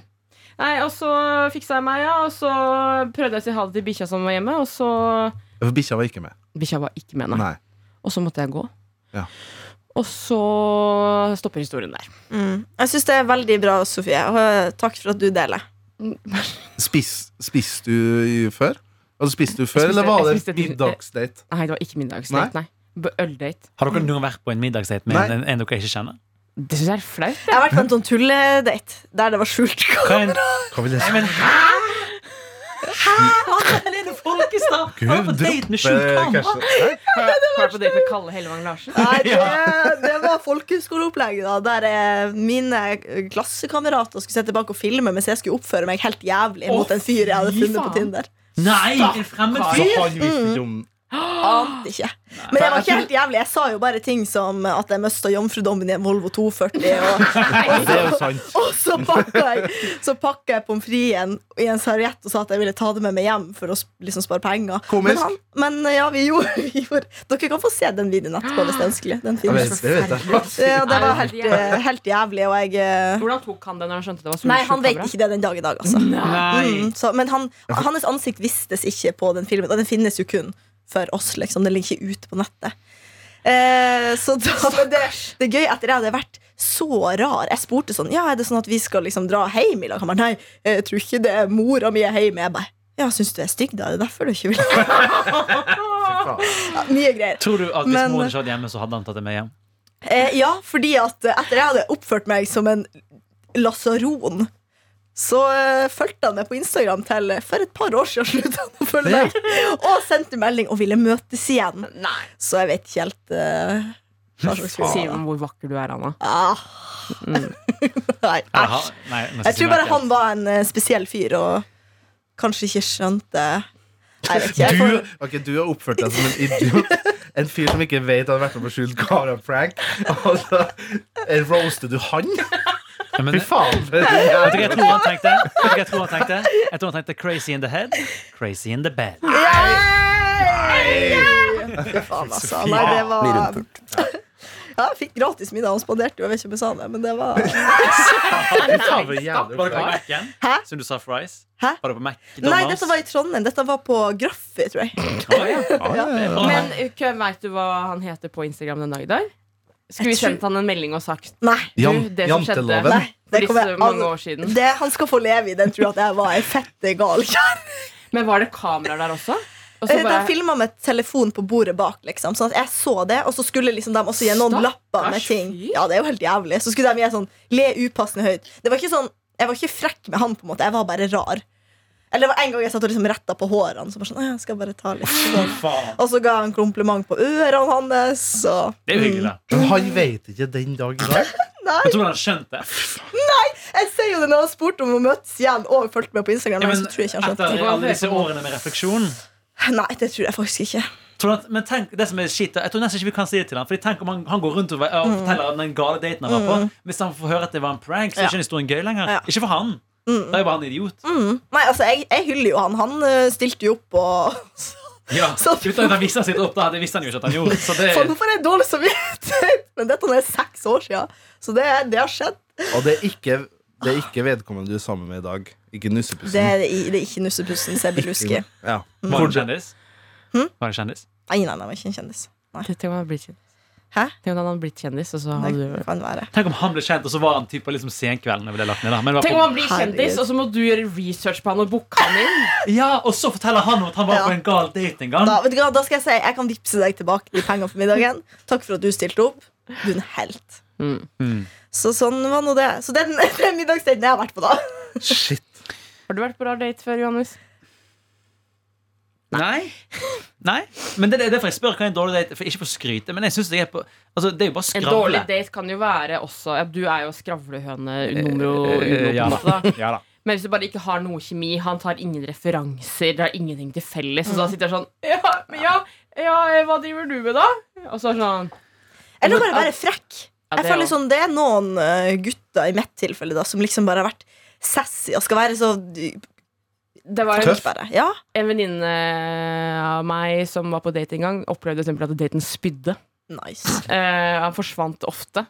Nei, og så fiksa jeg meg, ja, og så prøvde jeg å si ha det til bikkja som var hjemme, og så For Bikkja var ikke med. Bikkja var ikke med, nei. Nei. Og så måtte jeg gå. Ja. Og så stopper historien der. Mm. Jeg syns det er veldig bra, Sofie. Og eh, takk for at du deler. Spis, spiste du i- før? Altså, spiste du før, spiste- eller var jeg det spiste en din- middagsdate? Nei, det var ikke middagsdate. Nei. B- Øldate. Har dere noen gang vært på en middagsdate med Nei. en, en dere ikke kjenner? Det syns jeg er flaut. Jeg har vært på en sånn tulledate der det var skjult Hva er en, Hva vil jeg si? Helene Folkestad! Gud, Hva er på date med skjult droppe kamera? cashen. Var på date med Kalle Hellevang Larsen. Nei, det, det var folkehøyskoleopplegget, da. Der eh, mine klassekamerater skulle sitte bak og filme mens jeg skulle oppføre meg helt jævlig Å, mot en fyr jeg hadde fy funnet faen. på Tinder. Nei! En fremmed Så fyr! han visste ikke om Ah. Ante ikke. Men jeg var ikke helt jævlig. Jeg sa jo bare ting som at jeg mista jomfrudommen i en Volvo 240. Og, og, Det er jo så, sant. og så pakka jeg, så pakka jeg pommes fritesen i en serviett og sa at jeg ville ta det med meg hjem for å sp- liksom spare penger. Men, Komisk. han, men ja, vi gjorde, vi gjorde Dere kan få se den videoen etterpå hvis det er ønskelig. Den Jeg finnes. vet, det vet jeg. Ja, det var helt, eh, helt jævlig, og jeg eh, Hvordan tok han det når han skjønte det var Nei, han vet kamera? ikke det den dag i dag, altså. Nei. Mm, så, men han, hans ansikt vistes ikke på den filmen, og den finnes jo kun for oss, liksom. Den ligger ikke ute på nettet. Eh, så da, men det, det er gøy etter jeg hadde vært så rar. Jeg spurte sånn Ja, er det sånn at vi skal liksom dra hjem i lag? Han bare nei, jeg tror ikke det er mora mi er hjemme. Jeg bare ja, syns du er stygg, da? Er det derfor du ikke vil ja, Mye greier. Tror du at hvis Men- moren ikke hadde hjemme, så hadde han tatt det med hjem? Eh, ja, fordi at eh, etter jeg hadde oppført meg som en lasaron, så eh, fulgte han meg på Instagram til eh, for et par år siden sluttet han å følge meg, og sendte melding og ville møtes igjen. Nei. Så jeg vet ikke helt eh, hva slags fyr Sier han er. hvor vakker du er, Anna. Ah. Nei, Eller ha- æsj. Nei, nå skal Jeg tror bare merke. han var en eh, spesiell fyr og kanskje ikke skjønte Nei, Jeg vet ikke. Jeg Du, får- ok, du har oppført deg som en idiot. En fyr som ikke vet han har vært med på skjult kamera-prank. Og så eh, roaster du han? Ja, men- Fy faen. for en Vet du hva jævlig- jeg tror han tenkte? Vet du hva Jeg tror han tenkte Jeg tror han tenkte Crazy in the head, crazy in the bed. Nei! Fy faen, altså. Nei, det var Blir rundpult. Ja, jeg fikk gratis middag. Han spanderte jo, jeg vet ikke om jeg sa det, men det var Nei, Fy faen, det er jævlig Var det på flaut. Mac-en? Hæ? Som du sa fries? Hæ? Var det på McDonald's? dette var i Trondheim. Dette var på Graffy, tror jeg. Å, ja. Å, Men veit du hva han heter på Instagram den dag i dag? Skulle vi Jeg tror- sendt han en melding og sagt Nei. du, Jan- det som skjedde janteloven. for Nei, det kommer disse jeg mange aldri- år siden? Det, han skal få leve i den trua at jeg var ei fette gal kjerring. Men var det kameraer der også? Og Eh, så De bare- filma med telefon på bordet bak, liksom. Sånn at jeg så det, og så skulle liksom de også gi noen Stakkars lapper med ting. fyr. Ja, det er jo helt jævlig. Så skulle de gi sånn le upassende høyt. Det var ikke sånn, Jeg var ikke frekk med han, på en måte. Jeg var bare rar. Eller det var en gang jeg satt og liksom retta på hårene. Så bare sånn, «Å, jeg skal bare ta litt sånn. faen. Og så ga jeg en kompliment på ørene hans. Og Det er jo hyggelig, da. Men han vet ikke den dag i dag. Jeg tror han har skjønt det. jeg ser jo det når han spurte om å møtes igjen og fulgte med på Instagram. Ja, men men så tror jeg ikke han skjønte etter alle disse årene med refleksjon Nei, det tror jeg faktisk ikke. tror du at, Men tenk, det som er shit, jeg tror nesten ikke vi kan si det til han Fordi tenk om han, han går rundt og, og Mm. forteller om den gale daten han var på. Hvis han får høre at det var en prank, så er ikke historien gøy lenger. Ja. Mm. Ikke for han. Da er jo bare han idiot. Nei, altså, jeg, jeg hyller jo han. Han eh, stilte jo opp og Ja, Så- Uten at han viste sitt opp, da. Det visste han jo ikke at han gjorde. Så det, Faen, nå får jeg dårlig samvittighet! Men dette er seks år siden, så det, det har skjedd. Og det er ikke, det er ikke vedkommende du er sammen med i dag. Ikke Det nussepussen. er, i- det er ikke nussepussen som jeg vil huske. Ikke- Ja. var han kjendis? Hm? Var han kjendis? Nei, nei, nei, jeg er ikke en kjendis. Nei. Tenk om han hadde blitt kjendis. Hæ? Tenk om han hadde blitt kjendis, og så hadde du Det kan være. Tenk om han ble kjent, og så var han typ på liksom senkvelden. over det lagt ned, da. Men det var Tenk om på- han blir kjendis, Herregud. og så må du gjøre research på han og booke han inn. Ja, Og så forteller han om at han var Ja. på en gal date en gang. Da, vet du hva, da skal jeg si jeg kan vippse deg tilbake de pengene for middagen. Takk for at du stilte opp. Du er en helt. Mm. Mm. Så sånn var nå det. Så det er den, det er middagsdaten jeg har vært på, da. Shit. Har du vært på rar date før, Johannes? Nei. Nei. Men det, det er derfor jeg spør hva er en dårlig date For Ikke for å skryte, men jeg synes jeg er på altså, Det er jo bare En skravle. dårlig date kan jo være også ja, Du er jo skravlehøne numero uno. Eh, på ja en da. måte, da. Ja da. Men hvis du bare ikke har noe kjemi, han tar ingen referanser, det er ingenting til felles, og da sitter jeg sånn Ja, men ja, ja hva driver du med, da? Og så er det sånn Eller bare være frekk. ja, Jeg det føler også. sånn, Det er noen eh, gutter, i mitt tilfelle, da som liksom bare har vært sassy og skal være så Det var en, Tøff. Tøff. Bare. Ja. en venninne av meg som var på date en gang, opplevde for eksempel at daten spydde. Nice. Eh, han forsvant ofte.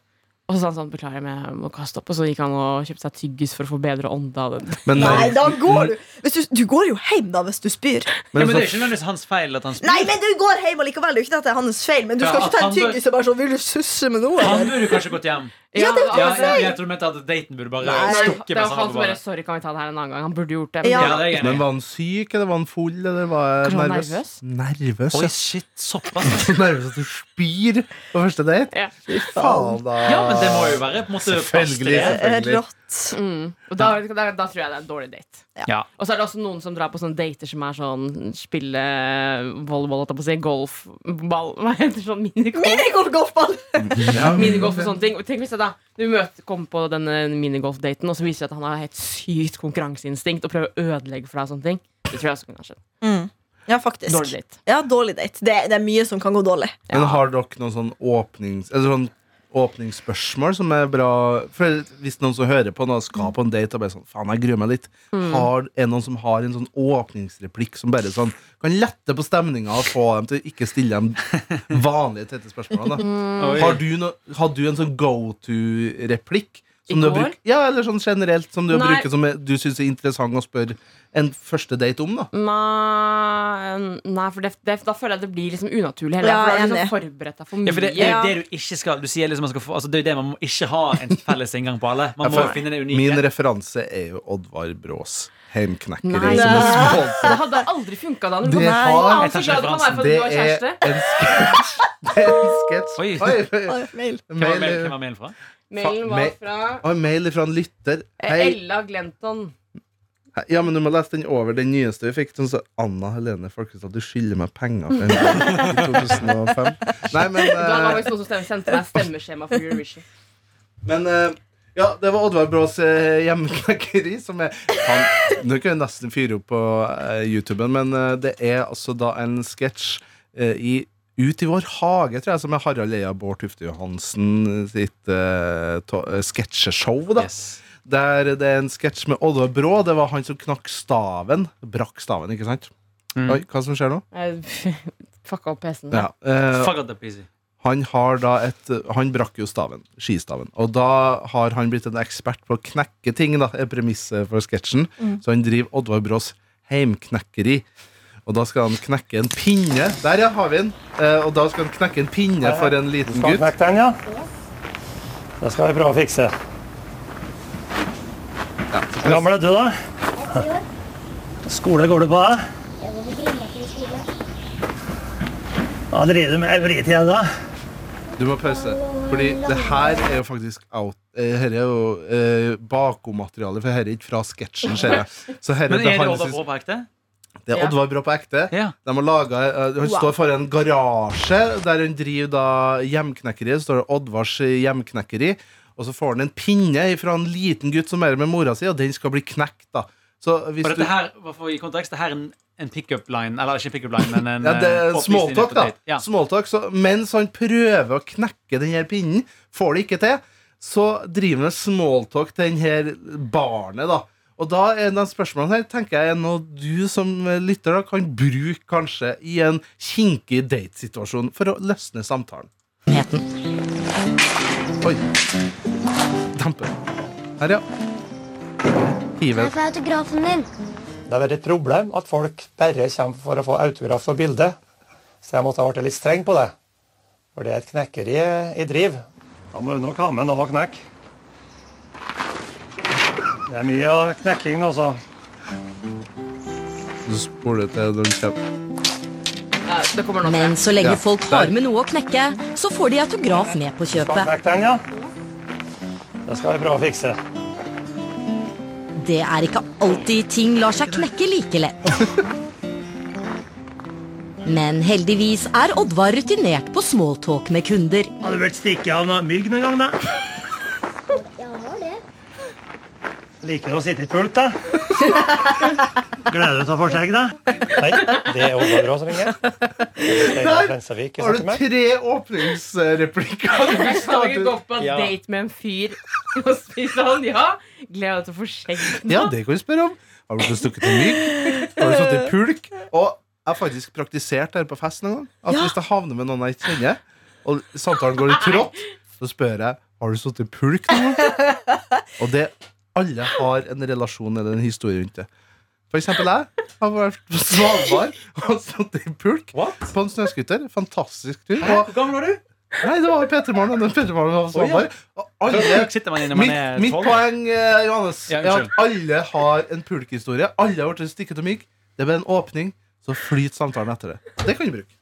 Og så sa han sånn 'Beklager, men jeg må kaste opp.' Og så gikk han og kjøpte seg tyggis for å få bedre ånde av den. Men, Nei, da går du hvis du, du går jo hjem da hvis du spyr. Ja, men det er så- ikke nødvendigvis hans feil at han spyr. Nei, men du går hjem allikevel. Det er jo ikke at det er hans feil, men du Ja, skal ikke ta at en han bør- tyggis og bare sånn Vil du susse med noe? Han eller?» burde kanskje gått hjem. Ja, det er jo Ja, det ja, jeg jeg tror du mente at daten burde bare Nei. stukke Det var mens han han var som på bare badet. 'Sorry, kan vi ta det her en annen gang?' Han burde gjort det. Men Ja. Ja, det er jeg men enig i. var han syk, eller var han full, eller var jeg Kanskje han var nervøs? Nervøs, Oi, ja. shit, såpass. Så nervøs at du spyr på første date? Ja. Fy faen, da. Ja, men det må jo være på en måte fast Selvfølgelig, det. selvfølgelig. Rått. Mm. Og da, da, da tror jeg det er en dårlig date. Ja. Og så er det også noen som drar på sånne dater som er sånn spille volleyball, holdt jeg på å si, golf, ball, hva heter det, sånn minigolf? Minigolf-golfball! Minigolf og sånne ting. Og tenk hvis jeg da du møter, kommer på denne minigolfdaten, og så viser det at han har helt sykt konkurranseinstinkt og prøver å ødelegge for deg og sånne ting. Det tror jeg også kunne skjedd. Ja, faktisk. Dårlig date. Ja, dårlig date. Det, det er mye som kan gå dårlig. Men har dere noen sånn åpnings... Eller sånn åpningsspørsmål som er bra For Hvis noen som hører på nå, skal på en date og bare sånn Faen, jeg gruer meg litt. Mm. Har, er det noen som har en sånn åpningsreplikk som bare sånn kan lette på stemninga og få dem til å ikke stille de vanlige tette spørsmålene? Mm. Da. Oi. Har du no, hadde du en sånn go to-replikk? I Som du går? bruker, ja, eller sånn generelt som du Nei. bruker som er- du syns er interessant å spørre en første date om. da Nei, nei for det, det, da føler jeg at det blir liksom unaturlig. Heller, Ja, for da har du enig. liksom forberedt deg for mye. Ja, for det er jo det du ikke skal Du sier liksom man skal få altså Det er jo det man må ikke ha en felles inngang på alle. Jeg Man må føler- finne det Min unike. referanse er jo Oddvar Brås heimknekkere. Nei. som er sponset. det hadde aldri funka da. Det har- Han så glad du kan være for altså. Det at du har er kjæreste. en sketsj. Det er en sketsj. Oi. Oi, Oi, mail. Hvem var mail- mail- hvem var mailen fra? Mailen Fa- var me- fra Oi, mail fra en lytter. eh, Hei. Ella Glenton. Ja, men Du må lese den over den nyeste vi fikk. Den sa Anna Helene Folkestad, du skylder meg penger for en gang i 2005. Nei, men, Da var eh, det noen som stemte- sendte meg stemmeskjema for Eurovision. men eh, Ja, det var Oddvar Brås eh, hjemmeknekkeri, som er han, Nå kan jeg nesten fyre opp på eh, YouTuben, men eh, det er altså da en sketsj eh, i ut i vår hage, tror jeg, som er Harald Eia Bård Tufte Johansen sitt eh, to- eh, sketsjeshow. da Yes. Der det er en sketsj med Oddvar Brå. Det var han som knakk staven. Brakk staven, ikke sant? Mm. Oi, hva som skjer nå? Eh, Fucka opp PC-en. Ja. eh, Fuck at det er peasy. han har da et Han brakk jo staven, skistaven. Og da har han blitt en ekspert på å knekke ting, da, er premisset for sketsjen. Mm. Så han driver Oddvar Brås heimknekkeri. Og da skal han knekke en pinne. Der, ja, har vi den. Eh, og da skal han knekke en pinne for en liten gutt. Smakvekteren, ja. Det skal vi prøve å fikse. Hvor gammel er du, da? Skole går du på? da? Hva driver du med i fritida, da? Du må pause. Fordi det her er jo faktisk out. eh, Her er jo eh, bakommateriale, for her er ikke fra sketsjen, ser jeg. Så her er Men er det behandles- Oddvar Brå på ekte? Det er Oddvar Brå på ekte. Ja. De har laget, eh, han står foran en garasje der han driver da hjemknekkeri. Så står det Oddvars hjemknekkeri. Og så får han en pinne fra en liten gutt som er med mora si, og den skal bli knekt. da så hvis Og du, dette her, bare for å gi kontekst, det her er en, en pickup line, eller ikke pickup line, men en ja, det er eh, oppvisning Smalltalk, på da. date. Ja. Smalltalk, så mens han prøver å knekke den her pinnen, får det ikke til, så driver han med smalltalk til den her barnet, da. Og da er de spørsmålene her tenker jeg er noe du som lytter da kan bruke kanskje i en kinkig datesituasjon for å løsne samtalen. Oi. Damper. Her, ja. Hiver. Det har vært et problem at folk bare kommer for å få autograf og bilde. Så jeg måtte ha vært litt streng på det. For det er et knekkeri i driv. Da må du nok ha med noe å knekke. Det er mye av knekking, altså. Du spoler til når du kommer. Ja, det kommer nå. Men så lenge Ja, folk der. har med noe å knekke, så får de autograf med på kjøpet. Smakvekteren, ja. Det skal vi prøve å fikse. Det er ikke alltid ting lar seg knekke like lett. Men heldigvis er Oddvar rutinert på smalltalk med kunder. Har du vært stikket av noe mygg noen gang, da? Liker du å sitte i pult, da? Gleder du deg til å få skjegg, da? Nei, det er Oddvar Brå som ringer. Steinar Frensavik jeg Har snakker du med. tre åpningsreplikker? Jeg skal ikke gå på en Ja. date med en fyr og spise han, ja. Gleder deg til å få skjegg. Ja, det kan du spørre om. Har du blitt stukket i mygg? Har du sittet i pulk? Og jeg har faktisk praktisert her på festen en gang. At hvis jeg havner med noen jeg ikke kjenner, og samtalen går litt trått, så spør jeg har du sittet i pulk noen gang. Og det alle har en relasjon eller en historie rundt det. For eksempel jeg har vært på Svalbard og sittet i pulk What? på en snøskuter. Fantastisk tur. Og, Hvor gammel var du? nei, det var i P3 Morgen. og den P3 Morgen var på Svalbard. Og alle Sitter man inne når man Mitt, er mitt 12? poeng eh, Johannes, Ja, er at unnskyld. alle har en pulkhistorie. Alle har blitt stikket og mygg. Det er bare en åpning, så flyter samtalen etter det. Det kan du bruke.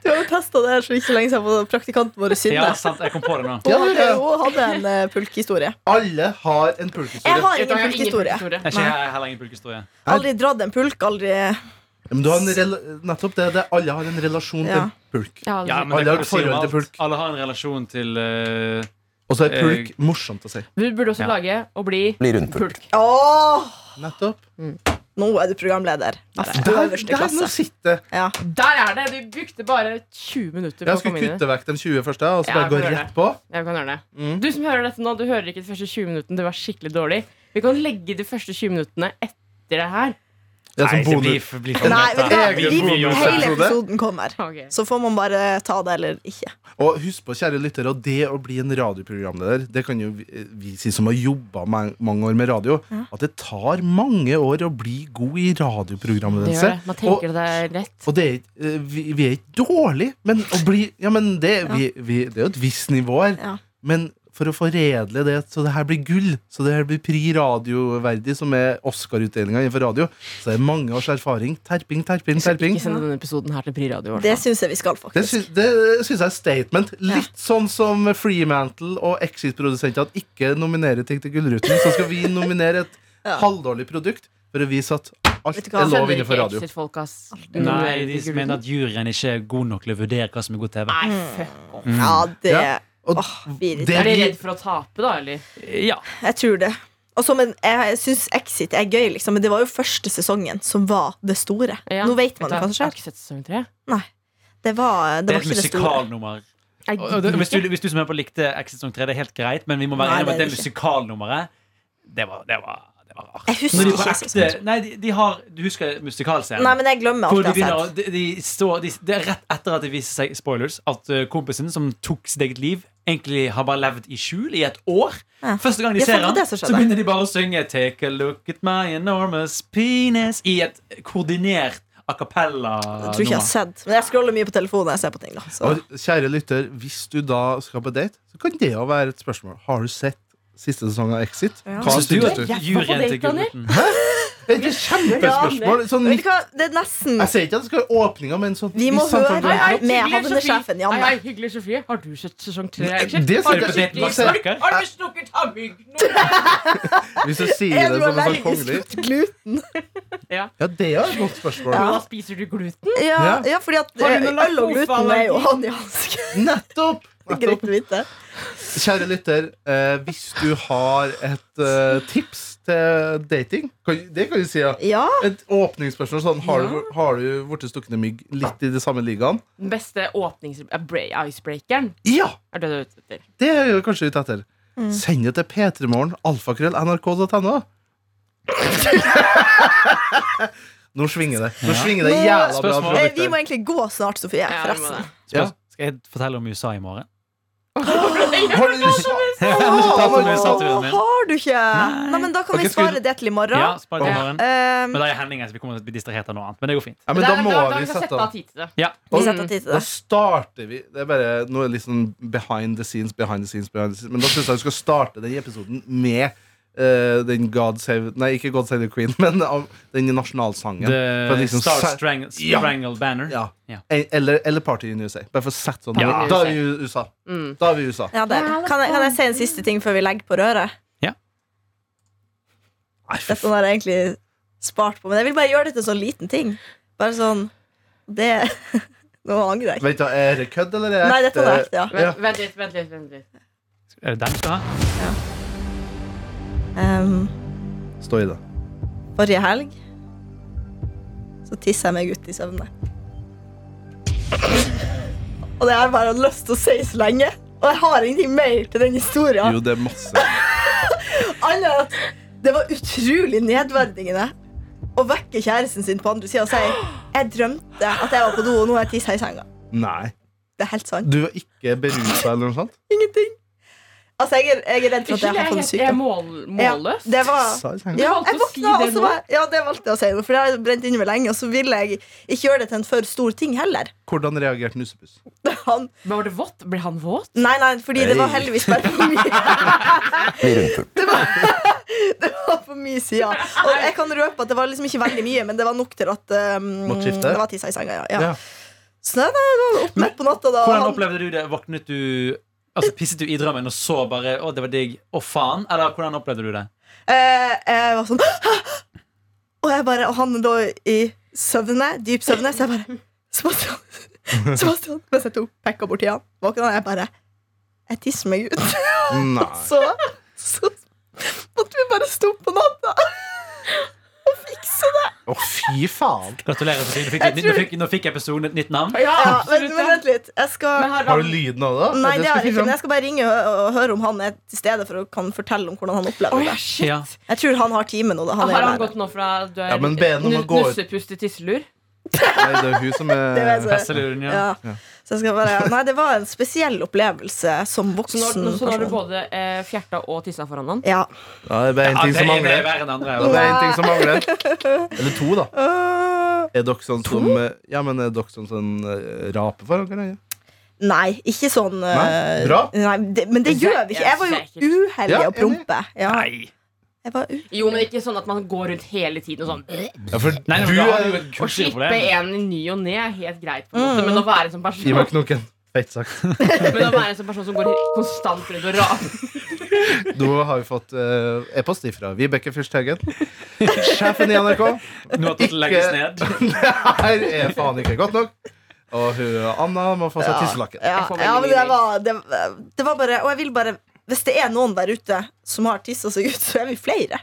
Du har jo testa det her så ikke lenge siden på praktikanten vår Synne. Ja, sant, jeg kom på det nå. Hun Ja, det hadde, er- hun hadde en eh, pulkehistorie. Alle har en Jeg pulkhistorie. har Jeg ingen har ingen pulkehistorie. historie. Jeg har ikke heller ingen pulkehistorie. Aldri dratt en pulk. Aldri Men du har en rela nettopp det, det er alle har en relasjon til Ja. en pulk. Jeg har Ja, aldri- men det Alle har kan du et si om forhold til alt. pulk. Alle har en relasjon til eh, Og så er pulk morsomt å si. Vi burde også Ja. lage og bli pulk. Åh! Nettopp. Nå er du programleder. Der, Øverste der klasse. nå sitter jeg. Ja. Der er det! Vi brukte bare 20 minutter på Jeg å komme skulle inn i det. kutte vekk de 20 første, og så Ja, bare gå gjør det. rett på. Jeg kan gjøre det. Du som hører dette nå, du hører ikke de første 20 minuttene. Det var skikkelig dårlig. Vi kan legge de første 20 minuttene etter det her. Det er Nei, som det bonus. blir for- blir for Nei, mye, vet du da. hva? Egen Vi, hele bonusepisode. episoden kommer. Ok. Så får man bare ta det eller ikke. Og husk på, kjære lyttere, at det å bli en radioprogramleder, det kan jo vi, eh, vi si som har jobba mange år med radio, at det tar mange år å bli god i Det gjør radioprogramledelse. det. Man Og, tenker det er lett. og det er, ikke- eh, vi, vi er ikke dårlige, men å bli Ja, men det, vi, vi, det er jo et visst nivå her. Ja. Men for å foredle det så det her blir gull, så det her blir pri radioverdig, som er Oscar-utdelinga innenfor radio, så det er mange års erfaring. Terping, terping, terping. Ikke sende denne episoden her til Pri Radio. i hvert Det fall. syns jeg vi skal, Det faktisk. syns, det syns jeg er statement. Litt sånn som Freemantle og Exit-produsentene ikke nominerer ting til Gullruten, så skal vi nominere et halvdårlig produkt for å vise at Vet alt du hva? er lov Sender innenfor ikke radio. Exit-folk, ass. Nei, de mener at juryen ikke er god nok til å vurdere hva som er god TV. Mm. Nei, fuck. Ja, det Mm. Ja. Og Åh, vi- det Er de vi- redd for å tape, da, eller? Ja. Jeg tror det. Og så, men jeg syns Exit er gøy, liksom. Men det var jo første sesongen som var det store. Ja. Nå vet man jo hva som Jeg har skjer. ikke sett sesong tre. Det var, det Det var er et ikke det store. musikalnummer. Jeg Og- og det- gidder Hvis ikke. du, hvis du som hører på likte Exit Song 3, det er helt greit, men vi må være Nei, enige om at det er det det ikke. musikalnummeret Det var, det var, det var rart. Jeg husker Når de på ikke så- så ekte, nei, de, de har, du husker musikalscenen? Nei, men jeg glemmer Hvor alt de jeg begynner, har sett. å- de, de står, de, det er rett etter at det viser seg spoilers At eh, kompisen som tok sitt eget liv Egentlig har bare levd i skjul i et år Ja. Første gang de Ja, for ser det var han det som Så skjedde. begynner de bare å synge Take a look at my enormous penis I et koordinert a cappella Jeg tror ikke jeg har sett Men jeg scroller mye på telefonen når jeg ser på ting. da så. Og kjære lytter, hvis du da skal på date, så kan det jo være et spørsmål. Har du sett siste sesong av Exit? Ja. Hva Synes du syns at du? Jeg var på juryen date, til Daniel. Gullruten Det er et kjempespørsmål. Sånn, Vet du hva, det er nesten jeg sier ikke at det skal være åpninga, men sånn Vi må i samtalen- høre. hei, Med hyggelig, havnesjefen, Sofie. Janne. Hei, hei, hyggelig, Sofie. Har du sett sesong tre? av Nei, Exit? det Har sier jeg du på date skikkelig med Snorker. snork? Har du snukket havmygg? nå? Hvis du sier det som en sånn kongelig gluten? Ja, det er et godt spørsmål. Hvordan spiser du gluten? Ja, ja fordi at Har eh, du noe øl og gluten er jo hånd i hanske. Nettopp! Greit Nettopp. å vite. Kjære lytter, eh, hvis du har et eh, tips til dating kan, Det kan du si, ja. Ja, Et åpningsspørsmål sånn Har du, har du blitt stukket ned mygg litt i de samme ligaen? Den beste åpnings... eh, bre- Icebreakeren Ja! er det du er ute etter. Det er jeg kanskje ute etter. Send det til p3morgen, alfakrøll, nrk.no. Nå svinger det. Nå svinger det jævla bra. Spørsmål? tror eh, jeg, Vi lytter. må egentlig gå snart, Sofie. Ja, vi må Forresten. det. Ja. Skal jeg fortelle om USA i morgen? Har du- Jeg har ikke talt om Åh, USA-turen min har du ikke? Nei. Nei, men Da kan Ok, vi skal vi- spare det til i Ja, morgen. spar det i morgen Um, Men da er Henning her, så vi kommer til å bli distrahert av noe annet Men det går fint Ja, men Det da er- må da vi sette av av. tid til det. vi setter tid til Da det. starter vi Det er bare nå er det litt sånn behind the scenes, behind the scenes, behind the scenes. Men da syns jeg vi skal starte den episoden med eh, den God Save Nei, ikke God Save the Queen, men av den nasjonalsangen. For The at liksom Star se- Strang Ja. Strangle Banner Ja. Ja. Eller, eller Party in USA. Bare for å sette sånn Ja. Da er vi i USA. Mm. Da er vi i USA. Ja, det. er det. Kan, jeg, kan jeg si en siste ting før vi legger på røret? Ja. Nei, fy Dette har jeg egentlig spart på, men jeg vil bare gjøre det til en sånn liten ting. Bare sånn Det Nå angrer jeg. Vent, da, er det kødd, eller er det Nei, dette var ekte, ja. Vent, vent litt, vent litt. vent litt Er det den du skal ha? Um, Stå i det. forrige helg så tissa jeg meg ut i søvne. Og det har jeg bare lyst til å si så lenge. Og jeg har ingenting mer til den historien. Jo, det er masse. Annet enn at det var utrolig nedverdigende å vekke kjæresten sin på andre sida og si jeg drømte at jeg var på do, og nå har jeg tissa i senga. Nei. Det er helt sant. Du var ikke berusa eller noe sånt? Ingenting. Altså, jeg er, jeg er redd for Ikke at jeg har fått en det, Sånn jeg er sykdom. mål, målløs. Ja, det var Sa jeg sånn. ja, valgte jeg å si våkna, det og så nå. var ja, det valgte jeg å si nå, for det har brent inne meg lenge. Og så ville jeg ikke gjøre det til en for stor ting heller. Hvordan reagerte Nussepuss? Han, Men var det vått? Ble han våt? nei, nei, fordi det var heldigvis bare for mye. Det var, det var for mye sida. Og jeg kan røpe at det var liksom ikke veldig mye, men det var nok til at um, Måtte skifte? det var tissa i senga. Ja. Ja. Ja. Så nei, nei, det var opp midt på natta da. Hvordan han- opplevde du det? Våknet du Altså Pisset du i drømmen og så bare 'Å, det var digg', å faen? Eller hvordan opplevde du det? Eh, jeg var sånn Og jeg bare, og han lå i søvne, dyp søvne, så jeg bare Sebastian! Sebastian! Mens jeg tok pekka borti han, våkna han, jeg bare Jeg tisser meg ut. Nei. Så, så måtte vi bare stå opp på natta og fikse det. Å, fy faen. Gratulerer. Sofie. Du fikk, et nytt- nå, fikk, nå fikk episoden et nytt navn. Ja, Ja, absolutt. vent, men vent litt. Jeg skal Men har Har du han, lyden av det? Nei, det har jeg ikke, men jeg jeg skal sånn. bare ringe og, og høre om han er til stede for å kan fortelle om hvordan han opplever det. Ja. Jeg tror han har time nå. Da. Han er Ah, har jo han der. gått nå fra du er Ja, men be henne om å nu- gå ut. nussepust til tisselur? Nei, det er hun som Det var er jeg så- Pesseluden, ja. Ja. Så jeg skal bare, nei, det var en spesiell opplevelse som Så voksen. nå, nå- så nå har du person. både eh, fjerta og tissa foran han? Ja. Ja, det er bare en Ja, ting det som ene er mangler. verre enn det andre. altså. Ja, ja. det er en ting som mangler. Eller to, da. Øh, Er dere sånn som eh, Ja, men er dere sånn sånn eh, rape foran hverandre? nei, ikke sånn Nei, øh, bra. Nei, det, men det Det gjør er vi ikke. Jeg var sikkert. jo uheldig Ja, å prompe. Ja. Nei. Jeg var u Jo, men ikke sånn at man går rundt hele tiden og sånn øh, Ja, for Nei, men du da har er du jo et Å slippe kulturproblem. en i ny og ne er helt greit, på en måte men å være en sånn Gi person meg knoken. Feit sagt. Men å være en sånn person som går konstant rundt og raper Nå har vi fått eh, e-post ifra Vibeke Fyrstehaugen. Sjefen i NRK. Nå at det legges ned. Det her er faen ikke godt nok. Og hun Anna må få seg tisselakken. ja, Jeg får veldig ja, men mye det var, det, det var bare Og jeg vil bare Hvis det er noen der ute som har tissa seg ut, så er vi flere.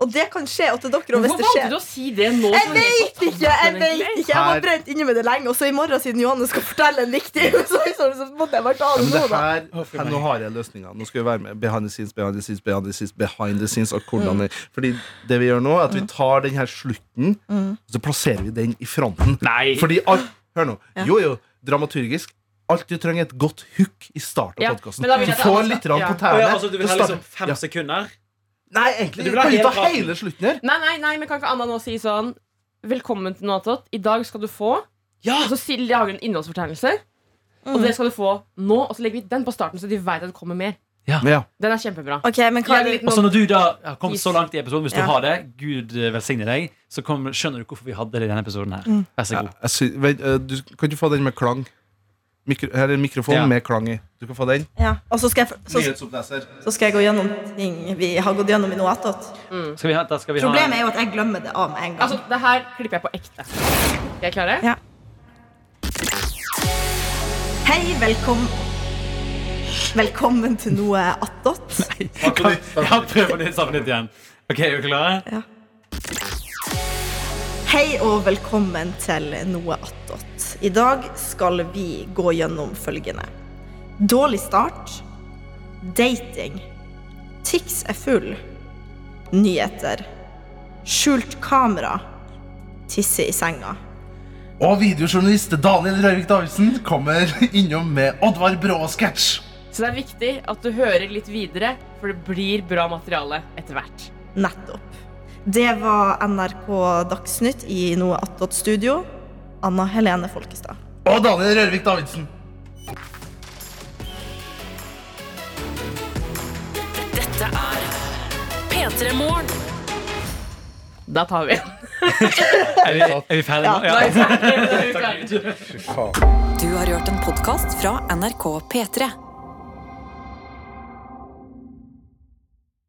Og det kan skje og til dere. Og hvis Hvorfor det valgte skjer du å si det nå? Jeg vet ikke! Jeg vet ikke, jeg var Her- brent inne med det lenge. Og så i morgen, siden Johanne skal fortelle en viktig så, så, så måtte jeg bare ta Ja, det men nå, det da. her, her, nå har jeg løsninga. Nå skal vi være med behind the scenes, behind the scenes, behind the scenes. Behind the scenes og Mm. hvordan det, fordi det vi gjør nå, er at vi tar den her slutten, Mm. og så plasserer vi den i fronten. Nei. Fordi alt, Hør nå. Jo, jo, dramaturgisk. Alt du trenger, er et godt hook i starten Ja, av podkasten. men da vil Du jeg at får alle- litt rann ja. på Å tærne. ja, altså, du vil Det ha starter- liksom fem ja. sekunder? Nei, egentlig. Du Du vil ha kan hele ta raten. hele slutten her. Nei, nei, nei, men kan ikke Anna nå si sånn Velkommen til Noatot. I dag skal du få Ja! Og så sier- lager hun en innholdsfortegnelse. Og det skal du få nå, og så legger vi den på starten, så de vet at det kommer mer. Ja. Den er kjempebra. Ok, men hva Lag er det? litt Og så noen- når du da har kommet så langt i episoden, hvis du Ja. har det, Gud eh, velsigne deg, så kom, skjønner du hvorfor vi hadde det i denne episoden her. Mm. Vær så Ja, god. jeg sy- vent, eh, du, kan du få den med klang? Mikro, her er en mikrofon Ja. med klang i. Du kan få den. Ja. Og så skal, jeg, så, Nyhetsoppleser. så skal jeg gå gjennom ting vi har gått gjennom i noe attåt. Skal vi ha, da skal vi ha Problemet er jo at jeg glemmer det av med en gang. Altså, det her klipper jeg på ekte. Er jeg klare? Ja. Hei, velkommen Velkommen til noe attåt. Ja, prøv på nytt, start på nytt igjen. Ok, er du klare? Hei og velkommen til Noe attåt. I dag skal vi gå gjennom følgende. Dårlig start. Dating. Tix er full. Nyheter. Skjult kamera. Tisse i senga. Og videojournalist Daniel Rørvik Davidsen kommer innom med Oddvar Brå-sketsj. Så det er viktig at du hører litt videre, for det blir bra materiale etter hvert. Nettopp. Det var NRK Dagsnytt i Noe attåt studio. Anna Helene Folkestad. Og Daniel Rørvik Davidsen. Da tar vi Er vi, er vi ferdige nå? Ja. den. Du har hørt en podkast fra NRK P3.